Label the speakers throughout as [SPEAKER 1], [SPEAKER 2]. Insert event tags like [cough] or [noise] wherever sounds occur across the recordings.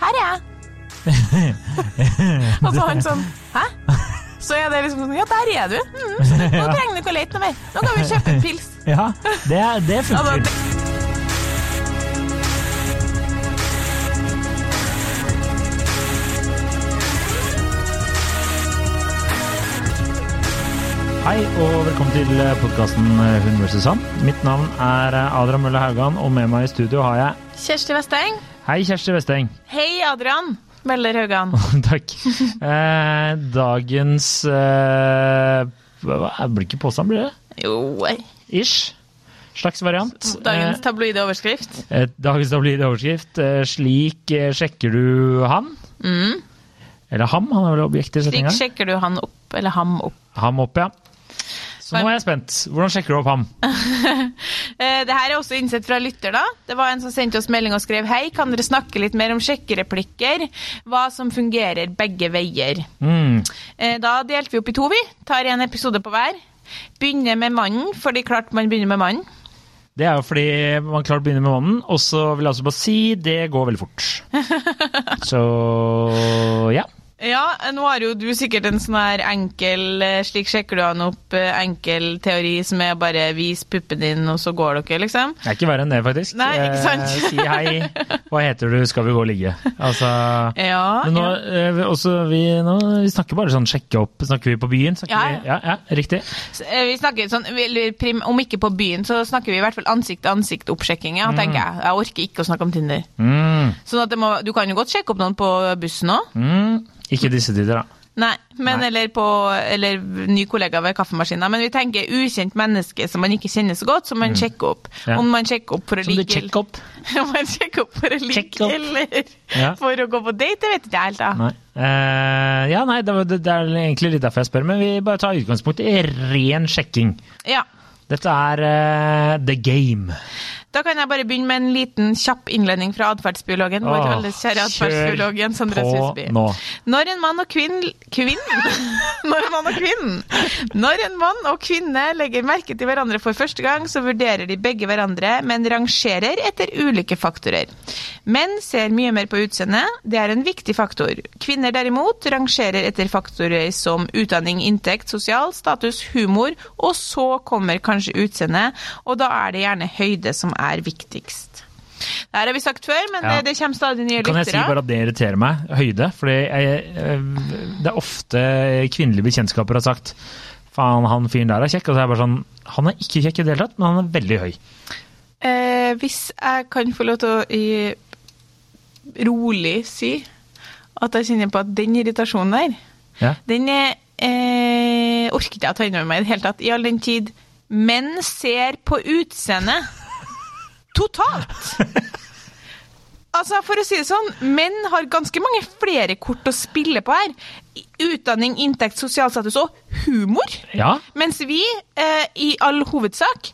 [SPEAKER 1] her, jeg. og så han sånn Hæ? Så er det liksom sånn Ja, der er du. Mm, nå trenger du ikke å lete noe mer. Nå kan vi kjøpe en pils.
[SPEAKER 2] Ja, det,
[SPEAKER 1] Ja,
[SPEAKER 2] det
[SPEAKER 1] da-
[SPEAKER 2] funker. Hei og velkommen til podkasten Hun vs. Sand. Mitt navn er eh, Adrian Mølle Haugan, og med meg i studio har jeg
[SPEAKER 1] Kjersti Vesteng.
[SPEAKER 2] Hei, Kjersti Westeng. [laughs]
[SPEAKER 1] Hei, Adrian. Melder Haugan.
[SPEAKER 2] Takk. Eh, dagens eh, hva, Blir det ikke påstand, blir det?
[SPEAKER 1] Jo, ei.
[SPEAKER 2] Ish. Slags variant.
[SPEAKER 1] dagens tabloide overskrift.
[SPEAKER 2] Eh, dagens tabloid overskrift. Eh, slik eh, sjekker du han. Eller ham, han er vel objekt i
[SPEAKER 1] Mm. Slik
[SPEAKER 2] setninga.
[SPEAKER 1] sjekker du han opp, eller ham opp.
[SPEAKER 2] Ham opp, ja. Så nå er jeg spent. Hvordan sjekker du opp ham?
[SPEAKER 1] Eh, Det her er også innsett fra lytter, da. Det var en som sendte oss melding og skrev Hei, kan dere snakke litt mer om sjekkereplikker? Hva som fungerer begge veier?
[SPEAKER 2] Mm.
[SPEAKER 1] Eh, Da delte vi opp i to, vi. Tar en episode på hver. Begynner med mannen, for det er klart man begynner med mannen.
[SPEAKER 2] Det er jo fordi man klart begynner med mannen, og så vil jeg også bare si det går veldig fort.
[SPEAKER 1] [laughs]
[SPEAKER 2] Så ja.
[SPEAKER 1] Ja, nå har jo du sikkert en sånn her enkel eh, Slik sjekker du han opp, eh, enkel teori som er bare vis puppen din, og så går dere, liksom.
[SPEAKER 2] Det er ikke verre enn det, faktisk.
[SPEAKER 1] Nei, ikke sant?
[SPEAKER 2] Eh, si hei, hva heter du, skal vi gå og ligge? Altså,
[SPEAKER 1] Ja.
[SPEAKER 2] men nå,
[SPEAKER 1] ja.
[SPEAKER 2] eh, vi- også, vi, nå vi snakker bare sånn sjekke opp, snakker vi på byen? Snakker
[SPEAKER 1] Ja, ja.
[SPEAKER 2] Vi, ja, ja, riktig.
[SPEAKER 1] Så, eh, Vi snakker sånn, vi- eller prim, Om ikke på byen, så snakker vi i hvert fall ansikt-til-ansikt-oppsjekking. Ja, tenker jeg. Jeg orker ikke å snakke om Tinder.
[SPEAKER 2] Mm,
[SPEAKER 1] Sånn at det må, Du kan jo godt sjekke opp noen på bussen òg.
[SPEAKER 2] mm. Ikke disse tider, da.
[SPEAKER 1] Nei, men
[SPEAKER 2] Nei.
[SPEAKER 1] Eller, på, eller ny kollega ved kaffemaskina. Men vi tenker ukjent menneske som man ikke kjenner så godt, som man sjekker opp.
[SPEAKER 2] Mm. Ja.
[SPEAKER 1] Om man sjekker opp for å
[SPEAKER 2] Som du
[SPEAKER 1] ligge
[SPEAKER 2] sjekker opp.
[SPEAKER 1] [laughs] Om man sjekker opp for å
[SPEAKER 2] Check
[SPEAKER 1] ligge
[SPEAKER 2] opp.
[SPEAKER 1] eller
[SPEAKER 2] Ja.
[SPEAKER 1] [laughs] for å gå på date, det vet ikke jeg helt, da.
[SPEAKER 2] Nei. Eh, ja, nei, det, var- det er egentlig litt derfor jeg spør, men vi bare tar utgangspunkt i ren sjekking.
[SPEAKER 1] Ja.
[SPEAKER 2] Dette er eh, the game.
[SPEAKER 1] Da kan jeg bare begynne med en liten kjapp innledning fra atferdsbiologen. Vår
[SPEAKER 2] Åh,
[SPEAKER 1] alles kjære atferdsbiolog Jens André
[SPEAKER 2] på
[SPEAKER 1] Husby.
[SPEAKER 2] nå.
[SPEAKER 1] Når en mann og kvinne [laughs] Når en mann og kvinnen Når en mann og kvinne legger merke til hverandre for første gang, så vurderer de begge hverandre, men rangerer etter ulike faktorer. Menn ser mye mer på utseendet, det er en viktig faktor. Kvinner derimot rangerer etter faktorer som utdanning, inntekt, sosial status, humor, og så kommer kanskje utseendet, og da er det gjerne høyde som er viktigst. Det her har vi sagt før, men
[SPEAKER 2] Ja.
[SPEAKER 1] det, det kommer stadig nye
[SPEAKER 2] Kan jeg si
[SPEAKER 1] lyttere.
[SPEAKER 2] bare at det irriterer meg? Høyde. Fordi jeg, eh, det er ofte kvinnelige bekjentskaper har sagt faen, han fyren der er kjekk. Og så er jeg bare sånn Han er ikke kjekk i det hele tatt, men han er veldig høy.
[SPEAKER 1] Eh, hvis jeg kan få lov til å i, rolig si at jeg kjenner på at den irritasjonen der,
[SPEAKER 2] Ja.
[SPEAKER 1] den er, eh, orker ikke jeg å ta inn over meg i det hele tatt. I all den tid menn ser på
[SPEAKER 2] [laughs]
[SPEAKER 1] utseendet totalt. Altså, for å si det sånn, menn har ganske mange flere kort å spille på her. I- Utdanning, inntekt, sosial status og humor.
[SPEAKER 2] ja.
[SPEAKER 1] Mens vi, eh, i all hovedsak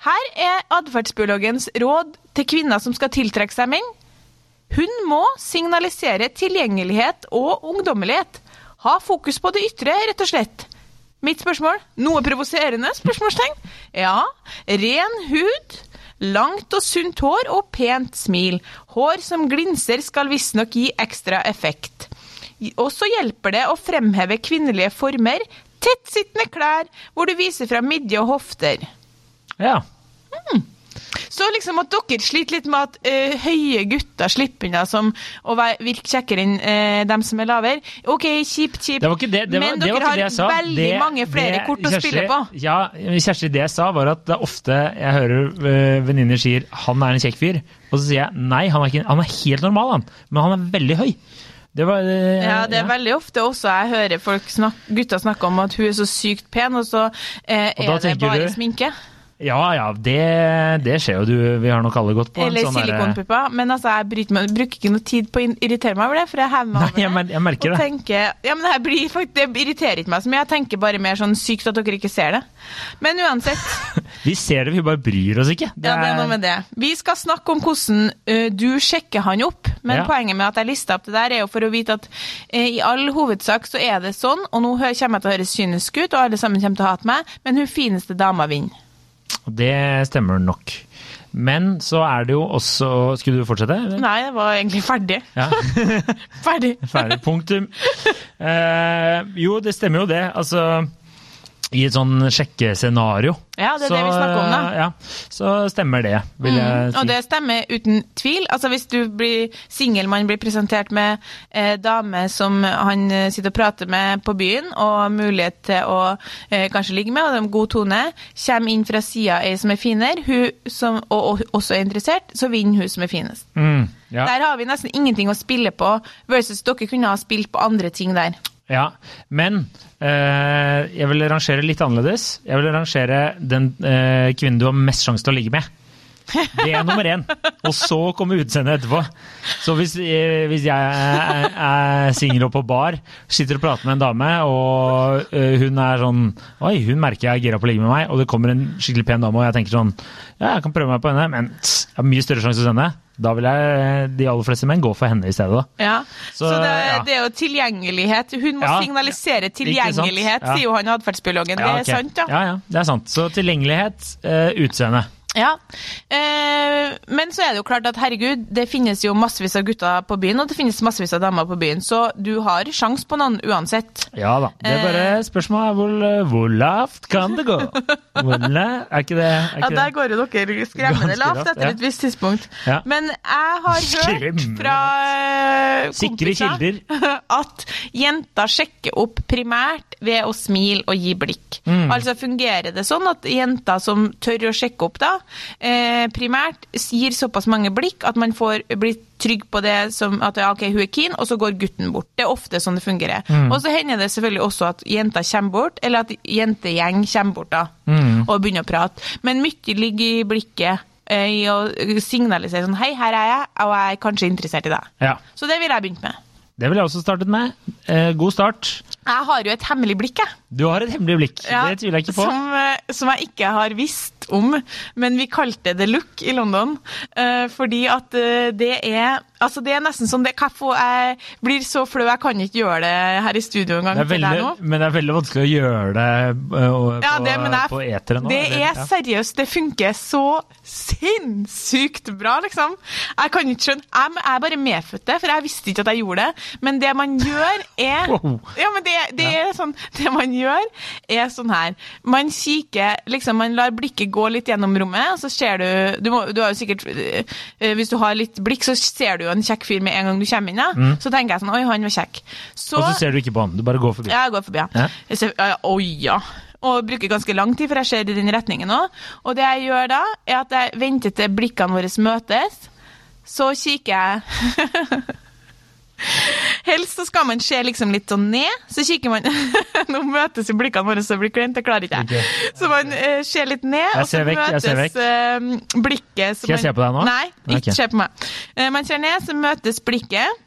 [SPEAKER 1] Her er atferdsbiologens råd til kvinner som skal tiltrekke seg menn. Hun må signalisere tilgjengelighet og ungdommelighet. Ha fokus på det ytre, rett og slett. Mitt spørsmål noe provoserende? spørsmålstegn. Ja. Ren hud. Langt og sunt hår og pent smil. Hår som glinser skal visstnok gi ekstra effekt. Og så hjelper det å fremheve kvinnelige former, tettsittende klær, hvor du viser fra midje og hofter.
[SPEAKER 2] ja.
[SPEAKER 1] Så liksom at dere sliter litt med at eh, høye gutter slipper unna som å være- virke kjekkere enn eh, dem som er lavere. OK, kjipt, kjipt.
[SPEAKER 2] Det var ikke det, det var,
[SPEAKER 1] Men
[SPEAKER 2] det
[SPEAKER 1] dere
[SPEAKER 2] var ikke
[SPEAKER 1] har
[SPEAKER 2] det jeg sa.
[SPEAKER 1] veldig
[SPEAKER 2] det,
[SPEAKER 1] mange flere
[SPEAKER 2] det-
[SPEAKER 1] kort å spille
[SPEAKER 2] Kjersti-
[SPEAKER 1] på.
[SPEAKER 2] Ja, men Kjersti, det jeg sa var at det er ofte jeg hører øh, venninner sier 'han er en kjekk fyr', og så sier jeg nei, han er, ikke, han er helt normal, han, men han er veldig høy. Det var øh,
[SPEAKER 1] Ja, det er veldig ofte også jeg hører folk snak gutter snakke om at hun er så sykt pen, og så eh,
[SPEAKER 2] Og
[SPEAKER 1] er
[SPEAKER 2] da
[SPEAKER 1] det
[SPEAKER 2] tenker
[SPEAKER 1] bare
[SPEAKER 2] du-
[SPEAKER 1] sminke.
[SPEAKER 2] ja, ja, det, det skjer jo. Du, vi har nok alle gått på en
[SPEAKER 1] Eller
[SPEAKER 2] sånn derre-
[SPEAKER 1] silikonpupper. Men altså, jeg bryter meg, bruker ikke noe tid på å in- irritere meg over det, for jeg hever meg
[SPEAKER 2] Nei,
[SPEAKER 1] over det.
[SPEAKER 2] jeg mer- jeg merker
[SPEAKER 1] og
[SPEAKER 2] det.
[SPEAKER 1] Tenker, ja, men det, her blir, fakt- det irriterer ikke meg så mye. Jeg tenker bare mer sånn sykt at dere ikke ser det. Men uansett.
[SPEAKER 2] Vi ser det, vi bare bryr oss ikke.
[SPEAKER 1] Ja, det er noe med det. Vi skal snakke om hvordan ø, du sjekker han opp, men
[SPEAKER 2] Ja.
[SPEAKER 1] poenget med at jeg lista opp det der, er jo for å vite at ø, i all hovedsak så er det sånn, og nå hø- kommer jeg til å høres kynisk ut, og alle sammen kommer til å hate meg, men hun fineste dama vinner.
[SPEAKER 2] det stemmer nok. Men så er det jo også Skulle du fortsette? eller?
[SPEAKER 1] Nei, jeg var egentlig ferdig.
[SPEAKER 2] Ja,
[SPEAKER 1] Ferdig.
[SPEAKER 2] ferdig. Punktum. Eh, jo, det stemmer jo det. Altså i et sånn sjekkescenario.
[SPEAKER 1] Ja, det er det vi snakker om, da.
[SPEAKER 2] eh, Ja, så stemmer det, vil jeg
[SPEAKER 1] Mm,
[SPEAKER 2] si.
[SPEAKER 1] og det stemmer uten tvil. Altså Hvis du blir singelmann, blir presentert med eh, dame som han eh, sitter og prater med på byen, og mulighet til å eh, kanskje ligge med, og det er en god tone, kommer inn fra sida ei som er finere, hun som, og, og også er interessert, så vinner hun som er finest.
[SPEAKER 2] Mm, ja.
[SPEAKER 1] Der har vi nesten ingenting å spille på, versus dere kunne ha spilt på andre ting der.
[SPEAKER 2] Ja, men eh, jeg vil rangere litt annerledes. Jeg vil rangere den eh, kvinnen du har mest sjanse til å ligge med. Det er nummer én. Og så kommer utseendet etterpå. Så hvis, eh, hvis jeg er, er singel og på bar, sitter og prater med en dame, og eh, hun er sånn Oi, hun merker jeg er gira på å ligge med meg, og det kommer en skikkelig pen dame, og jeg tenker sånn Ja, jeg kan prøve meg på henne, men tss, jeg har mye større sjanse hos henne. Da vil jeg eh, de aller fleste menn gå for henne i stedet, da.
[SPEAKER 1] Ja,
[SPEAKER 2] Så,
[SPEAKER 1] Så, det,
[SPEAKER 2] ja.
[SPEAKER 1] det er jo tilgjengelighet. Hun må
[SPEAKER 2] Ja,
[SPEAKER 1] signalisere
[SPEAKER 2] sant?
[SPEAKER 1] tilgjengelighet,
[SPEAKER 2] Ja.
[SPEAKER 1] sier jo han adferdsbiologen.
[SPEAKER 2] Ja,
[SPEAKER 1] Det
[SPEAKER 2] ok.
[SPEAKER 1] er sant, da.
[SPEAKER 2] Ja, ja, det er sant. Så tilgjengelighet, eh, utseende.
[SPEAKER 1] Ja, eh, men så er det jo klart at herregud, det finnes jo massevis av gutter på byen, og det finnes massevis av damer på byen, så du har sjans på noen uansett.
[SPEAKER 2] Ja da.
[SPEAKER 1] Eh.
[SPEAKER 2] Det er bare spørsmålet er hvor, eh, hvor lavt kan det gå? Hvor la, er ikke det? Er
[SPEAKER 1] Ja,
[SPEAKER 2] ikke
[SPEAKER 1] der går jo dere skremmende
[SPEAKER 2] Ganske
[SPEAKER 1] lavt
[SPEAKER 2] lavt, ja.
[SPEAKER 1] etter et visst tidspunkt.
[SPEAKER 2] Ja.
[SPEAKER 1] Men jeg har hørt
[SPEAKER 2] Skremmende
[SPEAKER 1] fra eh,
[SPEAKER 2] Sikre
[SPEAKER 1] kompiser [laughs] at jenter sjekker opp primært ved å smile og gi blikk. Altså fungerer det sånn at jenter som tør å sjekke opp da, eh, primært gir såpass mange blikk at man får bli trygg på det som at ja, ok, hun er keen, og så går gutten bort. Det er ofte sånn det fungerer. Og så hender det selvfølgelig også at jenter kommer bort, eller at jentegjeng kommer bort da, og begynner å prate. Men mye ligger i blikket, eh, i å signalisere sånn hei, her er jeg, og jeg er kanskje interessert i deg.
[SPEAKER 2] Ja.
[SPEAKER 1] Så det ville jeg begynt med.
[SPEAKER 2] Det ville jeg også startet med. Eh, god start.
[SPEAKER 1] Jeg har jo et hemmelig blikk, jeg.
[SPEAKER 2] Du har et hemmelig blikk,
[SPEAKER 1] Ja,
[SPEAKER 2] det tviler jeg ikke på.
[SPEAKER 1] Som, eh, som jeg ikke har visst om, men vi kalte det look i London. eh, fordi at eh, det er Altså, det er nesten sånn det, hva får Jeg blir så flau, jeg kan ikke gjøre det her i studio engang.
[SPEAKER 2] Det er
[SPEAKER 1] til deg
[SPEAKER 2] veldig,
[SPEAKER 1] nå.
[SPEAKER 2] men det er veldig vanskelig å gjøre det eh, og- på,
[SPEAKER 1] Ja, det, men jeg,
[SPEAKER 2] på eteren nå.
[SPEAKER 1] det
[SPEAKER 2] eller?
[SPEAKER 1] er
[SPEAKER 2] Ja.
[SPEAKER 1] seriøst, det funker så sinnssykt bra, liksom. Jeg kan ikke skjønne Jeg, jeg er bare medfødt det, for jeg visste ikke at jeg gjorde det. Men det man gjør, er
[SPEAKER 2] [laughs] Wow.
[SPEAKER 1] Ja, men det, det er sånn Det man gjør, er sånn her. Man kikker liksom Man lar blikket gå litt gjennom rommet, og så ser du Du, må, du har jo sikkert øh, øh, Hvis du har litt blikk, så ser du jo en kjekk fyr med en gang du kommer inn, da. Så tenker jeg sånn Oi, han var kjekk. Så,
[SPEAKER 2] Mm. Og så ser du ikke på han, du bare går forbi.
[SPEAKER 1] ja, jeg går forbi, ja.
[SPEAKER 2] Ja.
[SPEAKER 1] Jeg ser, ja, ja, oi, ja. Og bruker ganske lang tid, for jeg ser i den retningen òg. Og det jeg gjør da, er at jeg venter til blikkene våre møtes. Så kikker jeg [laughs] Helst så skal man se liksom litt sånn ned, så kikker man [laughs] Nå møtes jo blikkene våre, så det blir kleint, det klarer ikke jeg. Så man eh, ser litt ned, og så
[SPEAKER 2] ser vekk, jeg
[SPEAKER 1] møtes
[SPEAKER 2] ser vekk.
[SPEAKER 1] eh, blikket så
[SPEAKER 2] Skal jeg
[SPEAKER 1] man-
[SPEAKER 2] se på deg nå?
[SPEAKER 1] Nei, ikke
[SPEAKER 2] Ok.
[SPEAKER 1] se på meg. Eh, man ser ned, så møtes blikket.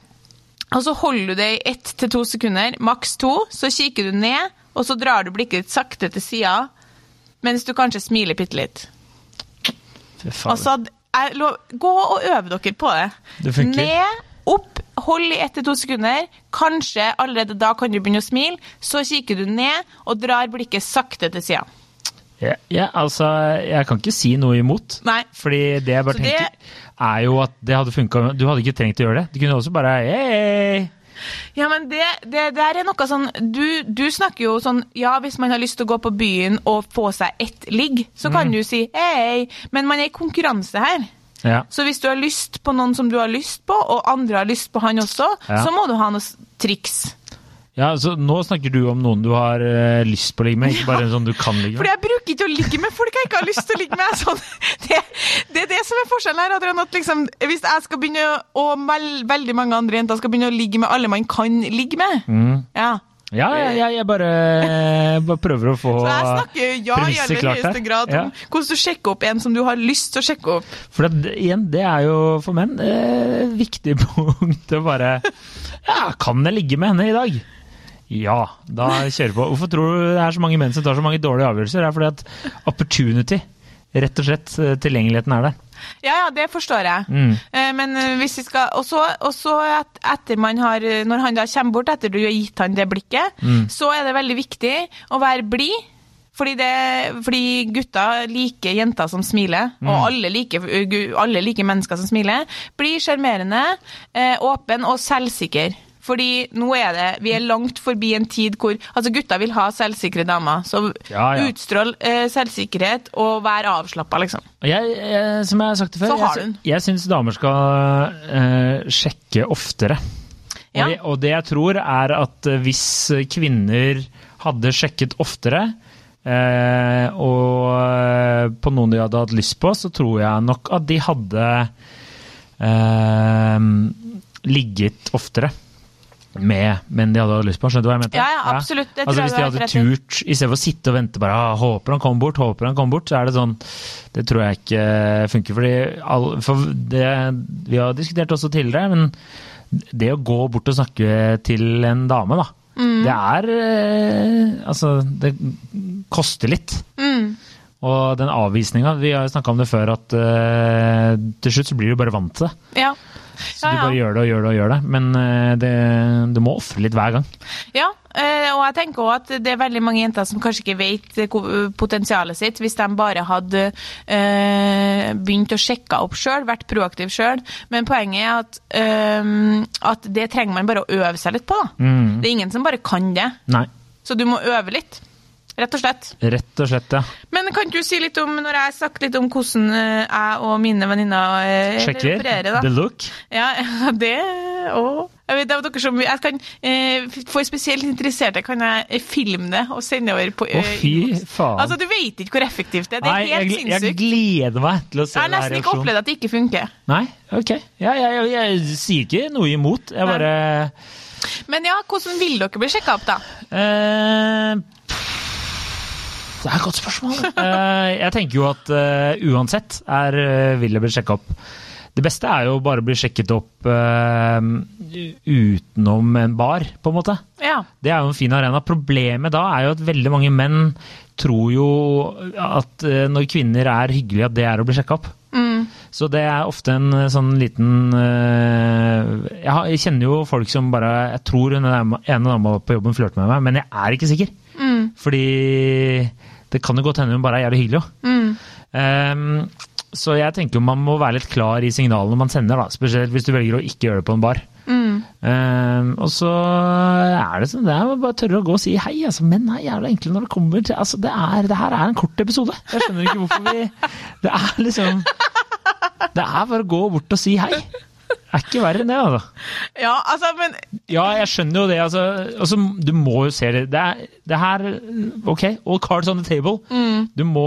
[SPEAKER 1] Og så holder du det i ett til to sekunder, maks to. Så kikker du ned, og så drar du blikket ditt sakte til sida, mens du kanskje smiler bitte litt.
[SPEAKER 2] Fy faen.
[SPEAKER 1] Altså, jeg lov, gå og øve dere på det.
[SPEAKER 2] Det funker.
[SPEAKER 1] Ned, opp, hold i ett til to sekunder. Kanskje allerede da kan du begynne å smile. Så kikker du ned og drar blikket sakte til sida.
[SPEAKER 2] Ja, ja, altså, jeg kan ikke si noe imot.
[SPEAKER 1] Nei.
[SPEAKER 2] Fordi det jeg bare
[SPEAKER 1] Så det-
[SPEAKER 2] tenker, er jo at det hadde funka. Du hadde ikke trengt å gjøre det. Du kunne også bare hey!
[SPEAKER 1] Ja, men det, det der er noe sånn du, du snakker jo sånn Ja, hvis man har lyst til å gå på byen og få seg ett ligg, så kan du si hei, men man er i konkurranse her.
[SPEAKER 2] Ja.
[SPEAKER 1] Så hvis du har lyst på noen som du har lyst på, og andre har lyst på han også,
[SPEAKER 2] Ja.
[SPEAKER 1] så må du ha noe s- triks.
[SPEAKER 2] ja, så nå snakker du om noen du har eh, lyst på å ligge med, ikke bare en sånn du kan ligge
[SPEAKER 1] Fordi
[SPEAKER 2] med.
[SPEAKER 1] jeg bruker ikke å ligge med folk jeg ikke har lyst til å ligge med. Sånn, [laughs] det, det er det som er forskjellen her, Adrian. At liksom, hvis jeg skal begynne å, og vel- veldig mange andre jenter skal begynne å ligge med alle man kan ligge med, ja,
[SPEAKER 2] Ja, ja, ja, jeg bare, bare prøver å få
[SPEAKER 1] Så jeg snakker jo ja i
[SPEAKER 2] premisset
[SPEAKER 1] aller
[SPEAKER 2] klart her.
[SPEAKER 1] høyeste grad om
[SPEAKER 2] Ja.
[SPEAKER 1] hvordan du sjekker opp en som du har lyst til å sjekke opp.
[SPEAKER 2] For det, igjen, det er jo for menn eh, et viktig [laughs] punkt å bare Ja, kan jeg ligge med henne i dag? Ja, da kjører vi på. Hvorfor tror du det er så mange menn som tar så mange dårlige avgjørelser? Det er fordi at opportunity, rett og slett, eh, tilgjengeligheten er der.
[SPEAKER 1] Ja, ja, det forstår jeg.
[SPEAKER 2] Mm.
[SPEAKER 1] Eh, Men eh, hvis vi skal Og så, og så et, etter man har eh, Når
[SPEAKER 2] Mm.
[SPEAKER 1] han da kommer bort etter du har gitt han det blikket, så er det veldig viktig å være blid. Fordi, det, fordi gutter liker jenter som smiler,
[SPEAKER 2] Mm.
[SPEAKER 1] og alle liker, eh, gu- alle liker mennesker som smiler. Bli sjarmerende, eh, åpen og selvsikker. Fordi nå er det, vi er langt forbi en tid hvor altså gutter vil ha selvsikre damer. Så
[SPEAKER 2] Ja, ja.
[SPEAKER 1] utstrål eh, selvsikkerhet og vær avslappa, liksom.
[SPEAKER 2] Og Jeg, jeg, som jeg har sagt det før,
[SPEAKER 1] Så har
[SPEAKER 2] jeg,
[SPEAKER 1] hun.
[SPEAKER 2] sy- jeg syns damer skal eh, sjekke oftere. Og,
[SPEAKER 1] Ja.
[SPEAKER 2] det, og det jeg tror er at eh, hvis kvinner hadde sjekket oftere, eh, og eh, på noen de hadde hatt lyst på, så tror jeg nok at de hadde eh, ligget oftere med menn de hadde hatt lyst på. Skjønner du hva jeg mente?
[SPEAKER 1] Ja, ja, absolutt. Det tror
[SPEAKER 2] Altså
[SPEAKER 1] jeg
[SPEAKER 2] Hvis
[SPEAKER 1] du
[SPEAKER 2] de
[SPEAKER 1] har
[SPEAKER 2] hadde
[SPEAKER 1] helt rett i.
[SPEAKER 2] turt, istedenfor å sitte og vente bare ah, 'håper han kommer bort', håper han kommer bort, så er det sånn Det tror jeg ikke funker. Fordi all, for det, vi har diskutert også tidligere, men det å gå bort og snakke til en dame, da.
[SPEAKER 1] Mm.
[SPEAKER 2] Det er eh, Altså, det koster litt.
[SPEAKER 1] Mm.
[SPEAKER 2] Og den avvisninga, vi har jo snakka om det før, at eh, til slutt så blir du bare vant til det.
[SPEAKER 1] Ja.
[SPEAKER 2] Så du bare gjør det og gjør det og gjør det. Men eh, det, du må ofre litt hver gang.
[SPEAKER 1] Ja, eh, og jeg tenker også at det er veldig mange jenter som kanskje ikke vet eh, hvor- potensialet sitt, hvis de bare hadde eh, begynt å sjekke opp sjøl, vært proaktiv sjøl. Men poenget er at, eh, at det trenger man bare å øve seg litt på. Da.
[SPEAKER 2] Mm.
[SPEAKER 1] Det er ingen som bare kan det,
[SPEAKER 2] Nei.
[SPEAKER 1] så du må øve litt. Rett og slett.
[SPEAKER 2] Rett og slett, ja.
[SPEAKER 1] Men kan ikke du si litt om, når jeg har sagt litt om hvordan eh, jeg og mine venninner eh,
[SPEAKER 2] Sjekker.
[SPEAKER 1] opererer, da?
[SPEAKER 2] The look.
[SPEAKER 1] Ja, [laughs] ja, det òg. Jeg vet, det er dere som, jeg kan, eh, for spesielt interesserte kan jeg eh, filme det og sende over på
[SPEAKER 2] Å,
[SPEAKER 1] eh,
[SPEAKER 2] fy
[SPEAKER 1] innboks.
[SPEAKER 2] faen.
[SPEAKER 1] Altså, Du vet ikke hvor effektivt det er. Det
[SPEAKER 2] Nei,
[SPEAKER 1] er helt
[SPEAKER 2] jeg, jeg
[SPEAKER 1] sinnssykt. Jeg,
[SPEAKER 2] gleder meg til å se
[SPEAKER 1] har
[SPEAKER 2] det her
[SPEAKER 1] nesten
[SPEAKER 2] i
[SPEAKER 1] ikke
[SPEAKER 2] aksjon.
[SPEAKER 1] opplevd at det ikke funker.
[SPEAKER 2] Nei, ok. Ja, jeg, jeg, jeg sier ikke noe imot. Jeg
[SPEAKER 1] Nei.
[SPEAKER 2] bare
[SPEAKER 1] Men ja, hvordan vil dere bli sjekka opp, da?
[SPEAKER 2] eh, Det er et godt
[SPEAKER 1] [laughs]
[SPEAKER 2] spørsmål. Eh, jeg tenker jo at eh, uansett er eh, vil jeg bli sjekka opp. Det beste er jo bare å bli sjekket opp eh, utenom en bar, på en måte.
[SPEAKER 1] Ja.
[SPEAKER 2] Det er jo en fin arena. Problemet da er jo at veldig mange menn tror jo at eh, når kvinner er hyggelige, at det er å bli sjekka opp.
[SPEAKER 1] Mm.
[SPEAKER 2] Så det er ofte en eh, sånn liten eh, jeg, har, jeg kjenner jo folk som bare Jeg tror hun ene ene dama på jobben flørter med meg, men jeg er ikke sikker.
[SPEAKER 1] Mm.
[SPEAKER 2] Fordi det kan jo godt hende hun bare er jævlig hyggelig òg.
[SPEAKER 1] Mm.
[SPEAKER 2] Ehm, så jeg tenker man må være litt klar i signalene man sender, da. Spesielt hvis du velger å ikke gjøre det på en bar.
[SPEAKER 1] Mm.
[SPEAKER 2] Ehm, og så er det sånn det er å bare tørre å gå og si hei. Altså, menn er jævla enkle når det kommer til altså, det, er, det her er en kort episode. Jeg skjønner ikke hvorfor vi Det er liksom Det er bare å gå bort og si hei. Det er ikke verre enn det, altså.
[SPEAKER 1] ja, altså, men
[SPEAKER 2] Ja, jeg skjønner jo det. Altså, altså du må jo se det. Det, er, det her OK, all cards on the table. Du må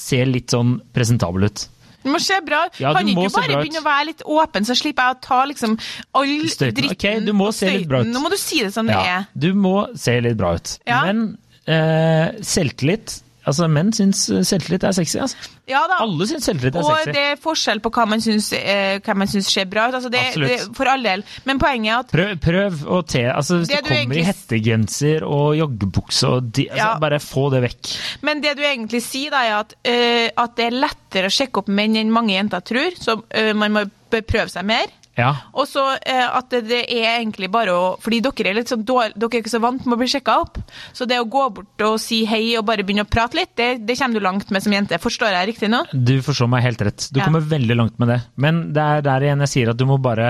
[SPEAKER 2] se litt sånn presentabel ut.
[SPEAKER 1] du må se bra ut.
[SPEAKER 2] Ja, du
[SPEAKER 1] kan ikke
[SPEAKER 2] må
[SPEAKER 1] du
[SPEAKER 2] se
[SPEAKER 1] bare
[SPEAKER 2] bra ut.
[SPEAKER 1] begynne å være litt åpen, så slipper jeg å ta liksom all
[SPEAKER 2] Støyten.
[SPEAKER 1] dritten
[SPEAKER 2] Ok, du må
[SPEAKER 1] og
[SPEAKER 2] se litt bra ut.
[SPEAKER 1] støyten. Nå må du si det som det
[SPEAKER 2] Ja,
[SPEAKER 1] er.
[SPEAKER 2] du må se litt bra ut.
[SPEAKER 1] E. Ja.
[SPEAKER 2] Men eh, selvtillit Altså, menn syns selvtillit er sexy. Altså.
[SPEAKER 1] Ja da.
[SPEAKER 2] Alle syns selvtillit er
[SPEAKER 1] Og
[SPEAKER 2] sexy.
[SPEAKER 1] det er forskjell på hva man syns, eh, hva man syns ser bra ut. Altså det,
[SPEAKER 2] Absolutt.
[SPEAKER 1] det, for all del. Men poenget er at
[SPEAKER 2] Prøv, prøv å te altså, Hvis
[SPEAKER 1] Det
[SPEAKER 2] du
[SPEAKER 1] du
[SPEAKER 2] kommer i
[SPEAKER 1] egentlig-
[SPEAKER 2] hettegenser og joggebukse og de, altså,
[SPEAKER 1] Ja.
[SPEAKER 2] Bare få det vekk.
[SPEAKER 1] Men det du egentlig sier, da, er at, eh, at det er lettere å sjekke opp menn enn mange jenter tror, så eh, man må beprøve seg mer.
[SPEAKER 2] Ja.
[SPEAKER 1] Og så eh, at det, det er egentlig bare å Fordi dere er litt sånn dårl- dere er ikke så vant med å bli sjekka opp. Så det å gå bort og si hei og bare begynne å prate litt, det, det kommer du langt med som jente. Forstår jeg riktig nå?
[SPEAKER 2] Du forstår meg helt rett. Du
[SPEAKER 1] Ja.
[SPEAKER 2] kommer veldig langt med det. Men det er der igjen jeg sier at du må bare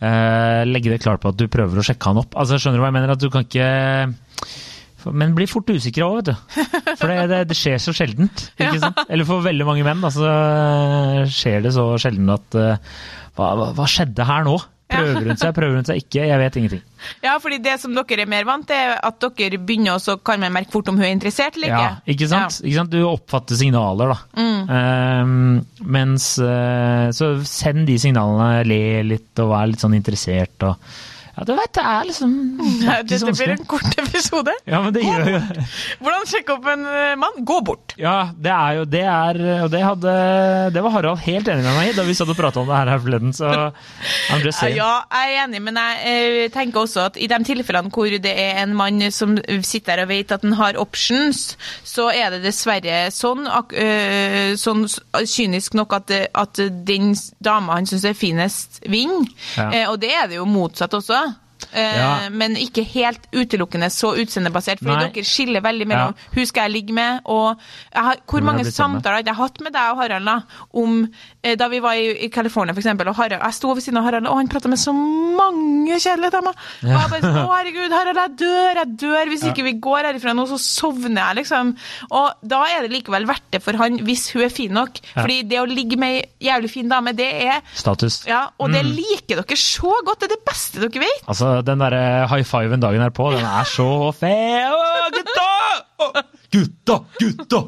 [SPEAKER 2] eh, legge det klart på at du prøver å sjekke han opp. Altså, skjønner du hva jeg mener? At du kan ikke for- men blir fort usikre òg, vet du. For det, det, det skjer så sjeldent. Ikke sant? Eller for veldig mange menn da, så skjer det så sjelden at eh, hva, hva, hva skjedde her nå? Prøver hun seg, prøver hun seg ikke? Jeg vet ingenting.
[SPEAKER 1] Ja, fordi det som dere er mer vant til, er at dere begynner, og så kan man merke fort om hun er interessert eller ikke. Mm.
[SPEAKER 2] Ja, ikke sant? ikke sant? Du oppfatter signaler, da. Ehm, mens eh, Så send de signalene, le litt og vær litt sånn interessert og Ja, du veit, det er liksom det
[SPEAKER 1] Ja.
[SPEAKER 2] er ikke
[SPEAKER 1] Dette
[SPEAKER 2] så
[SPEAKER 1] blir
[SPEAKER 2] vanskelig.
[SPEAKER 1] en kort episode.
[SPEAKER 2] Ja, men det gjør jo
[SPEAKER 1] Hvordan sjekke opp en eh, mann? Gå bort.
[SPEAKER 2] Ja, det er jo Det er Og det hadde Det var Harald helt enig med meg i da vi satt og prata om det her her forleden, så
[SPEAKER 1] [laughs]
[SPEAKER 2] I'm just saying.
[SPEAKER 1] Ja, jeg er enig, men jeg eh, tenker også at i de tilfellene hvor det er en mann som sitter der og vet at han har options, så er det dessverre sånn, ak- eh, sånn s- kynisk nok at, eh, at den s- dama han syns er finest, vinner.
[SPEAKER 2] Ja.
[SPEAKER 1] Eh, Og det er det jo motsatt også. eh,
[SPEAKER 2] Ja.
[SPEAKER 1] men ikke helt utelukkende så utseendebasert. Fordi
[SPEAKER 2] Nei.
[SPEAKER 1] dere skiller veldig mellom
[SPEAKER 2] Ja.
[SPEAKER 1] hun skal jeg ligge med, og jeg har, hvor
[SPEAKER 2] Hvordan
[SPEAKER 1] mange
[SPEAKER 2] jeg blir sammen med.
[SPEAKER 1] samtaler har jeg hatt med deg og Harald da, om eh, Da vi var i, i California, for eksempel, og Harald, jeg sto ved siden av Harald, og han prata med så mange kjedelige damer. Og jeg bare
[SPEAKER 2] [laughs]
[SPEAKER 1] sånn Å, herregud, Harald, jeg dør, jeg dør. Hvis ikke vi går herifra nå, så sovner jeg, liksom. Og da er det likevel verdt det for han, hvis hun er fin nok.
[SPEAKER 2] Ja.
[SPEAKER 1] Fordi det å ligge med ei jævlig fin dame, det er
[SPEAKER 2] Status.
[SPEAKER 1] ja, og
[SPEAKER 2] Mm.
[SPEAKER 1] det liker dere så godt. Det er det beste dere vet.
[SPEAKER 2] Altså, den derre high fiven dagen her på, den er så fe... Å,
[SPEAKER 1] [laughs]
[SPEAKER 2] gutta! Å, Gutta! Gutta!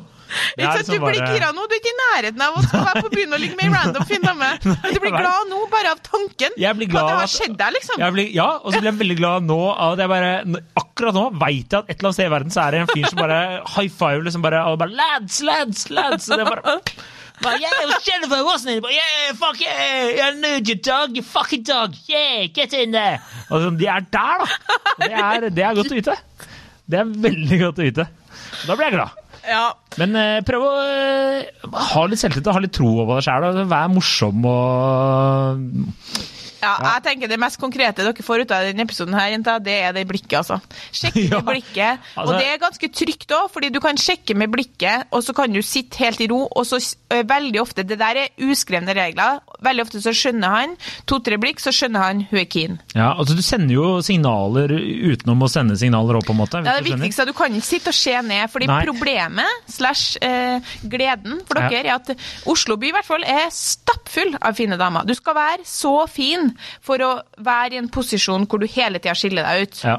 [SPEAKER 2] Det
[SPEAKER 1] Ikke
[SPEAKER 2] er
[SPEAKER 1] sant? Du
[SPEAKER 2] liksom
[SPEAKER 1] blir
[SPEAKER 2] bare-
[SPEAKER 1] gira nå. Du er ikke i nærheten av å skal være på byen og ligge med en random fin
[SPEAKER 2] [laughs]
[SPEAKER 1] dame. Men Du blir
[SPEAKER 2] jeg vet.
[SPEAKER 1] glad nå bare av tanken
[SPEAKER 2] Jeg blir
[SPEAKER 1] på
[SPEAKER 2] glad
[SPEAKER 1] at det
[SPEAKER 2] av
[SPEAKER 1] har
[SPEAKER 2] at-
[SPEAKER 1] skjedd deg, liksom.
[SPEAKER 2] Jeg blir, ja, og så blir jeg veldig glad nå av at jeg bare n- Akkurat nå veit jeg at et eller annet sted i verden så er det en fyr som bare high five liksom bare, og bare Lads, lads, lads! Og det er bare bare, yeah, it was Jennifer, wasn't it? But yeah, fuck yeah! I knew you, dog! You fucking dog! Yeah, get in there! Og sånn, de er der, da! Og Det er, det er godt å vite. Det er veldig godt å vite. Da blir jeg glad.
[SPEAKER 1] Ja.
[SPEAKER 2] Men eh, prøv å eh, ha litt selvtillit og ha litt tro over deg sjæl. Vær morsom og
[SPEAKER 1] ja, jeg tenker det mest konkrete dere får ut av denne episoden, her, jenta, det er det blikket, altså. Sjekk
[SPEAKER 2] [laughs] Ja.
[SPEAKER 1] med blikket. Og
[SPEAKER 2] Altså-
[SPEAKER 1] det er ganske trygt òg, fordi du kan sjekke med blikket, og så kan du sitte helt i ro, og så s- ø, veldig ofte Det der er uskrevne regler. Veldig ofte så skjønner han to-tre blikk, så skjønner han hun er keen.
[SPEAKER 2] Ja, altså Du sender jo signaler utenom å sende signaler òg, på en måte. hvis
[SPEAKER 1] Ja, det
[SPEAKER 2] du skjønner.
[SPEAKER 1] viktigste er at du kan ikke sitte og se ned, fordi
[SPEAKER 2] Nei.
[SPEAKER 1] problemet slash eh, gleden for dere er at Oslo by i hvert fall er stappfull av fine damer. Du skal være så fin for å være i en posisjon hvor du hele tida skiller deg ut.
[SPEAKER 2] Ja.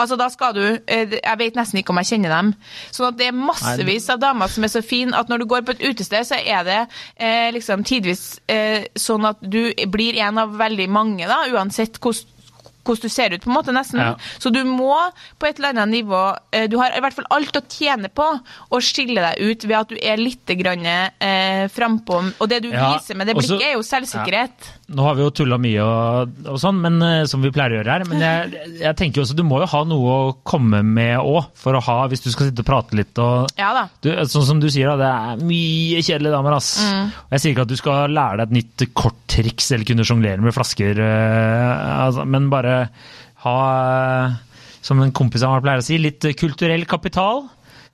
[SPEAKER 1] Altså, da skal du eh, Jeg vet nesten ikke om jeg kjenner dem. Sånn at det er massevis av damer som er så fine at når du går på et utested, så er det eh, liksom tidvis eh, sånn at du blir en av veldig mange, da, uansett hvordan hvordan du ser ut, på en måte, nesten.
[SPEAKER 2] Ja.
[SPEAKER 1] Så du må på et eller annet nivå eh, Du har i hvert fall alt å tjene på å skille deg ut ved at du er litt grann, eh, frampå. Og det du
[SPEAKER 2] Ja,
[SPEAKER 1] viser med det
[SPEAKER 2] og så-
[SPEAKER 1] blikket, er jo selvsikkerhet.
[SPEAKER 2] Nå har vi jo tulla mye og, og sånn, men, eh, som vi pleier å gjøre her. Men jeg, jeg tenker jo også, du må jo ha noe å komme med òg, for å ha, hvis du skal sitte og prate litt og
[SPEAKER 1] Ja da.
[SPEAKER 2] du, Sånn som du sier, da, det er mye kjedelige damer, ass.
[SPEAKER 1] Mm.
[SPEAKER 2] Og jeg sier ikke at du skal lære deg et nytt korttriks eller kunne sjonglere med flasker, eh, altså, men bare ha, eh, som en kompis av meg pleier å si, litt kulturell kapital.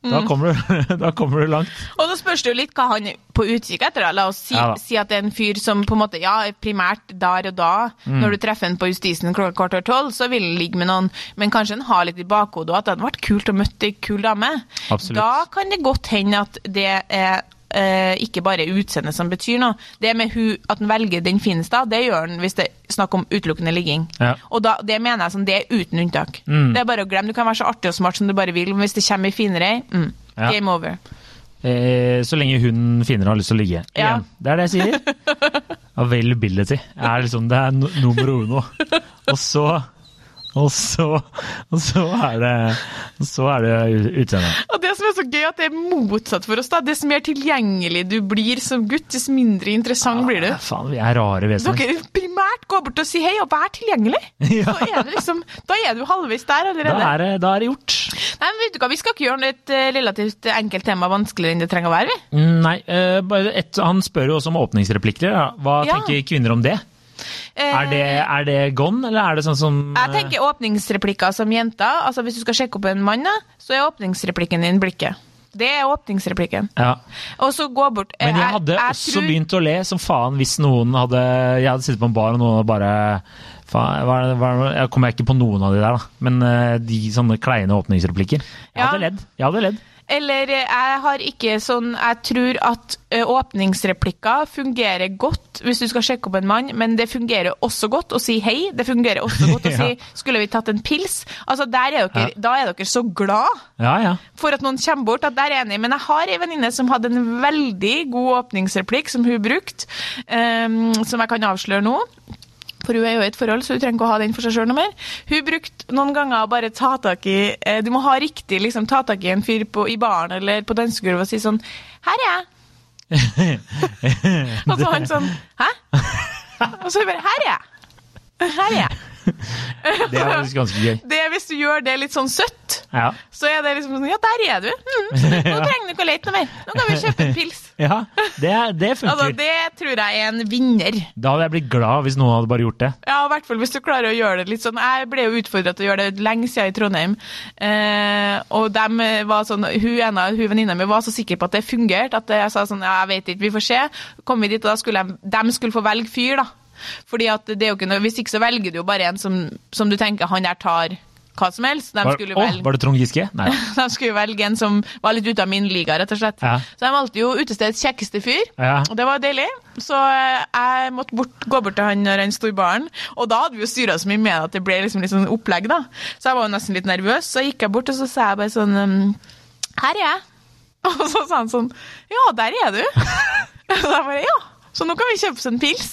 [SPEAKER 2] Da
[SPEAKER 1] Mm.
[SPEAKER 2] kommer du, [laughs] da kommer du langt.
[SPEAKER 1] Og så spørs det jo litt hva han er på utkikk etter. da. La oss si,
[SPEAKER 2] Ja da.
[SPEAKER 1] si at det er en fyr som på en måte, ja, primært der og da,
[SPEAKER 2] Mm.
[SPEAKER 1] når du treffer han på justisen klokka kvart over tolv, så vil han ligge med noen, men kanskje han har litt i bakhodet og at det hadde vært kult å møte ei kul dame.
[SPEAKER 2] Absolutt.
[SPEAKER 1] Da kan det godt hende at det er eh, ikke bare utseendet som betyr noe. Det med hu, at han velger den fineste, det gjør han hvis det er snakk om utelukkende ligging.
[SPEAKER 2] Ja.
[SPEAKER 1] Og da, det mener jeg som det er uten unntak.
[SPEAKER 2] Mm.
[SPEAKER 1] Det er bare å glemme. Du kan være så artig og smart som du bare vil, men hvis det kommer ei finere ei, mm,
[SPEAKER 2] Ja.
[SPEAKER 1] game over.
[SPEAKER 2] Eh, så lenge hun finner har lyst til å ligge.
[SPEAKER 1] Ja.
[SPEAKER 2] Igjen. Det er det jeg sier.
[SPEAKER 1] [laughs]
[SPEAKER 2] Availability er liksom det er no nummer uno. Og så og så, og så er det og Så er det u- utseendet.
[SPEAKER 1] Og det som er så gøy, at det er motsatt for oss. da. Dess mer tilgjengelig du blir som gutt, dess mindre interessant blir
[SPEAKER 2] Ja,
[SPEAKER 1] du.
[SPEAKER 2] Ah, faen, vi er rare vesener.
[SPEAKER 1] Dere primært går bort og sier hei og vær tilgjengelig.
[SPEAKER 2] [laughs] Ja,
[SPEAKER 1] Så er det liksom, Da er du halvveis der
[SPEAKER 2] da,
[SPEAKER 1] allerede.
[SPEAKER 2] er det, da er det gjort.
[SPEAKER 1] Nei, men vet du hva, Vi skal ikke gjøre et eh, relativt enkelt tema vanskeligere enn det trenger å være. vi.
[SPEAKER 2] Mm, Nei, eh, bare et, han spør jo også om åpningsreplikker. da. Hva
[SPEAKER 1] Ja.
[SPEAKER 2] tenker kvinner om det?
[SPEAKER 1] Eh,
[SPEAKER 2] Er det, er det gone, eller er det sånn som
[SPEAKER 1] Jeg tenker åpningsreplikker som jenter. altså Hvis du skal sjekke opp en mann, da, så er åpningsreplikken din blikket. Det er åpningsreplikken.
[SPEAKER 2] eh, ja.
[SPEAKER 1] Og så gå bort. Eh,
[SPEAKER 2] Men jeg hadde også
[SPEAKER 1] tror-
[SPEAKER 2] begynt å le som faen hvis noen hadde Jeg hadde sittet på en bar og noen hadde bare faen, hva, er det- hva, er det- Jeg kommer ikke på noen av de der, da. Men eh, de sånne kleine åpningsreplikker. Jeg
[SPEAKER 1] Ja.
[SPEAKER 2] hadde ledd. Jeg hadde ledd.
[SPEAKER 1] Eller eh, jeg har ikke sånn Jeg tror at ø, åpningsreplikker fungerer godt hvis du skal sjekke opp en mann, men det fungerer også godt å si hei. Det fungerer også godt å
[SPEAKER 2] [laughs] Ja.
[SPEAKER 1] si 'skulle vi tatt en pils'? Altså, der er dere,
[SPEAKER 2] Ja.
[SPEAKER 1] Da er dere så glad
[SPEAKER 2] Ja,
[SPEAKER 1] [laughs]
[SPEAKER 2] ja.
[SPEAKER 1] for at noen kommer bort, at der er jeg enig. Men jeg har ei venninne som hadde en veldig god åpningsreplikk som hun brukte, ehm, som jeg kan avsløre nå. For hun er jo i et forhold, så hun trenger ikke å ha den for seg sjøl noe mer. Hun brukte noen ganger å bare ta tak i eh, Du må ha riktig liksom, ta tak i en fyr på, i baren eller på dansegulvet og si sånn Her er jeg. Og så han sånn Hæ? Og så bare Her er jeg. Her er jeg.
[SPEAKER 2] [laughs] Det er faktisk ganske gøy.
[SPEAKER 1] Det, hvis du gjør det litt sånn søtt,
[SPEAKER 2] Ja.
[SPEAKER 1] så er det liksom sånn Ja, der er du! Mm, nå trenger du ikke å lete noe mer. Nå kan vi kjøpe en pils.
[SPEAKER 2] ja det,
[SPEAKER 1] [laughs]
[SPEAKER 2] det
[SPEAKER 1] Altså,
[SPEAKER 2] funker.
[SPEAKER 1] det tror jeg er en vinner.
[SPEAKER 2] Da hadde jeg blitt glad hvis noen hadde bare gjort det.
[SPEAKER 1] Ja, i hvert fall hvis du klarer å gjøre det litt sånn. Jeg ble jo utfordra til å gjøre det lenge siden i Trondheim. Eh, og dem eh, var sånn, hun ene, hun venninna mi var så sikker på at det fungerte, at jeg sa sånn ja, jeg vet ikke, vi får se. Kom vi dit, og da skulle de, dem skulle få velge fyr, da. Fordi at det er jo ikke noe, Hvis ikke så velger du jo bare en som, som du tenker han der tar hva som helst. De
[SPEAKER 2] Var,
[SPEAKER 1] skulle
[SPEAKER 2] å,
[SPEAKER 1] velge
[SPEAKER 2] var det Trond Giske? Nei.
[SPEAKER 1] [laughs] de skulle jo velge en som var litt ute av min liga, rett og slett.
[SPEAKER 2] Ja.
[SPEAKER 1] Så de valgte jo utestedets kjekkeste fyr,
[SPEAKER 2] Ja.
[SPEAKER 1] og det var deilig. Så eh, jeg måtte bort, gå bort til han når han sto i baren, og da hadde vi jo styra så mye med at det ble liksom litt sånn opplegg, da. Så jeg var jo nesten litt nervøs, så gikk jeg bort, og så sa jeg bare sånn «Ehm, Her er jeg. [laughs] Og så sa han sånn Ja, der er du. [laughs] Og da bare Ja. Så nå kan vi kjøpe oss en pils.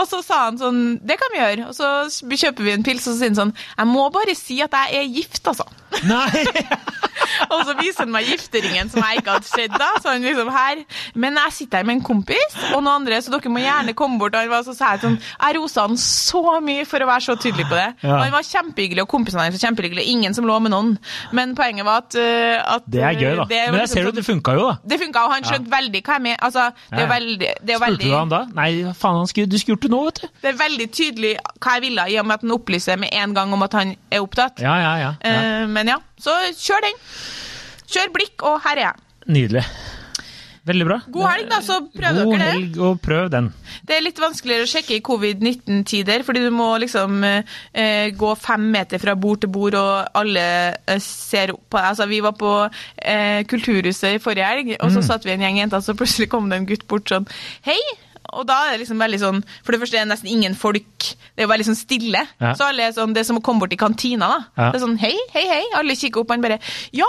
[SPEAKER 1] Og så sa han sånn Det kan vi gjøre. Og så kjøper vi en pils, og så sier han sånn Jeg må bare si at jeg er gift, altså.
[SPEAKER 2] Nei.
[SPEAKER 1] Og så viser han meg gifteringen som jeg ikke hadde sett da. Så han liksom her. Men jeg sitter her med en kompis og noen andre, så dere må gjerne komme bort. Og han var så sær sånn Jeg rosa han så mye for å være så tydelig på det.
[SPEAKER 2] Ja.
[SPEAKER 1] Og han var kjempehyggelig, og kompisene hans var kjempehyggelige. Ingen som lå med noen. Men poenget var at, øh, at
[SPEAKER 2] Det er gøy, da.
[SPEAKER 1] øh, det var
[SPEAKER 2] Men jeg
[SPEAKER 1] liksom
[SPEAKER 2] ser jo
[SPEAKER 1] sånn-
[SPEAKER 2] det funka jo, da.
[SPEAKER 1] det funka, og han skjønte veldig hva jeg mener. Altså, det er jo
[SPEAKER 2] Ja.
[SPEAKER 1] veldig, det er jo
[SPEAKER 2] Spurte
[SPEAKER 1] veldig Eh,
[SPEAKER 2] du han da? Nei, faen, han skulle, du skulle gjort det nå, vet du.
[SPEAKER 1] Det er veldig tydelig hva jeg ville, i og med at han opplyser med en gang om at han er opptatt.
[SPEAKER 2] Ja, ja, ja. ja.
[SPEAKER 1] Eh, men ja, så kjør den. Kjør blikk, og her er jeg.
[SPEAKER 2] Nydelig. Veldig bra.
[SPEAKER 1] God helg, da, så prøv dere
[SPEAKER 2] God
[SPEAKER 1] det.
[SPEAKER 2] helg, og prøv den.
[SPEAKER 1] Det er litt vanskeligere å sjekke i covid-19-tider, fordi du må liksom eh, eh, gå fem meter fra bord til bord, og alle eh, ser opp på deg. Altså, vi var på eh, Kulturhuset i forrige helg, og
[SPEAKER 2] Mm.
[SPEAKER 1] så satt vi en gjeng jenter, så plutselig kom det en gutt bort sånn Hei! Og da er det liksom veldig sånn For det første er det nesten ingen folk. Det er jo veldig sånn stille.
[SPEAKER 2] Ja.
[SPEAKER 1] Så alle er sånn Det er som å komme bort i kantina, da.
[SPEAKER 2] Ja.
[SPEAKER 1] Det er sånn hei, hei, hei. Alle kikker opp, og han bare Ja,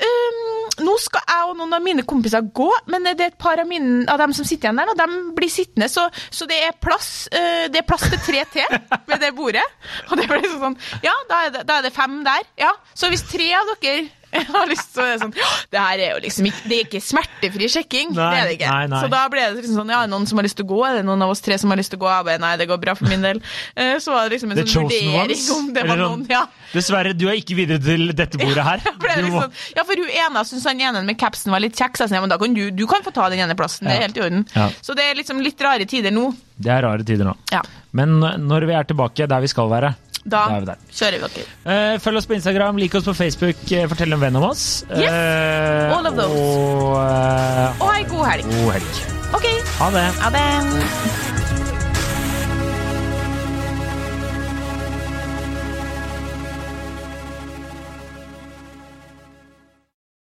[SPEAKER 1] øhm, nå skal jeg og noen av mine kompiser gå, men det er et par av, mine, av dem som sitter igjen der, og de blir sittende, så, så det, er plass, øh, det er plass til tre til ved det bordet. Og det ble liksom sånn Ja, da er det, da er det fem der. Ja, så hvis tre av dere har lyst, så er det sånn «Ja, Det her er jo liksom ikke Det er ikke smertefri sjekking. det er det ikke.
[SPEAKER 2] Nei, nei, nei.
[SPEAKER 1] Så da ble det liksom sånn Ja, er det noen som har lyst til å gå? Er det noen av oss tre som har lyst til å gå? Jeg bare, nei, det går bra for min del. Eh, Så var det liksom en
[SPEAKER 2] The
[SPEAKER 1] sånn
[SPEAKER 2] chosen
[SPEAKER 1] vurdering
[SPEAKER 2] ones.
[SPEAKER 1] om det var
[SPEAKER 2] Eller sånn,
[SPEAKER 1] noen Ja.
[SPEAKER 2] Dessverre, du er ikke videre til dette bordet her.
[SPEAKER 1] For det er
[SPEAKER 2] Du må-
[SPEAKER 1] liksom, [laughs] ja, for hun ene syns han ene med capsen var litt kjekk, så jeg sa ja, men da kan du, du kan få ta den ene plassen, det
[SPEAKER 2] Ja.
[SPEAKER 1] er helt i orden.
[SPEAKER 2] Ja.
[SPEAKER 1] Så det er liksom litt rare tider nå.
[SPEAKER 2] Det er rare tider nå.
[SPEAKER 1] Ja.
[SPEAKER 2] Men eh, når vi er tilbake der vi skal være
[SPEAKER 1] Da
[SPEAKER 2] Da er vi der.
[SPEAKER 1] kjører vi dere.
[SPEAKER 2] Eh, Følg oss på Instagram, lik oss på Facebook, eh, fortell en venn om oss.
[SPEAKER 1] Yes,
[SPEAKER 2] Eh,
[SPEAKER 1] all of those.
[SPEAKER 2] Og eh,
[SPEAKER 1] Og ei god helg.
[SPEAKER 2] god helg.
[SPEAKER 1] OK,
[SPEAKER 2] Ha det.
[SPEAKER 1] ha det.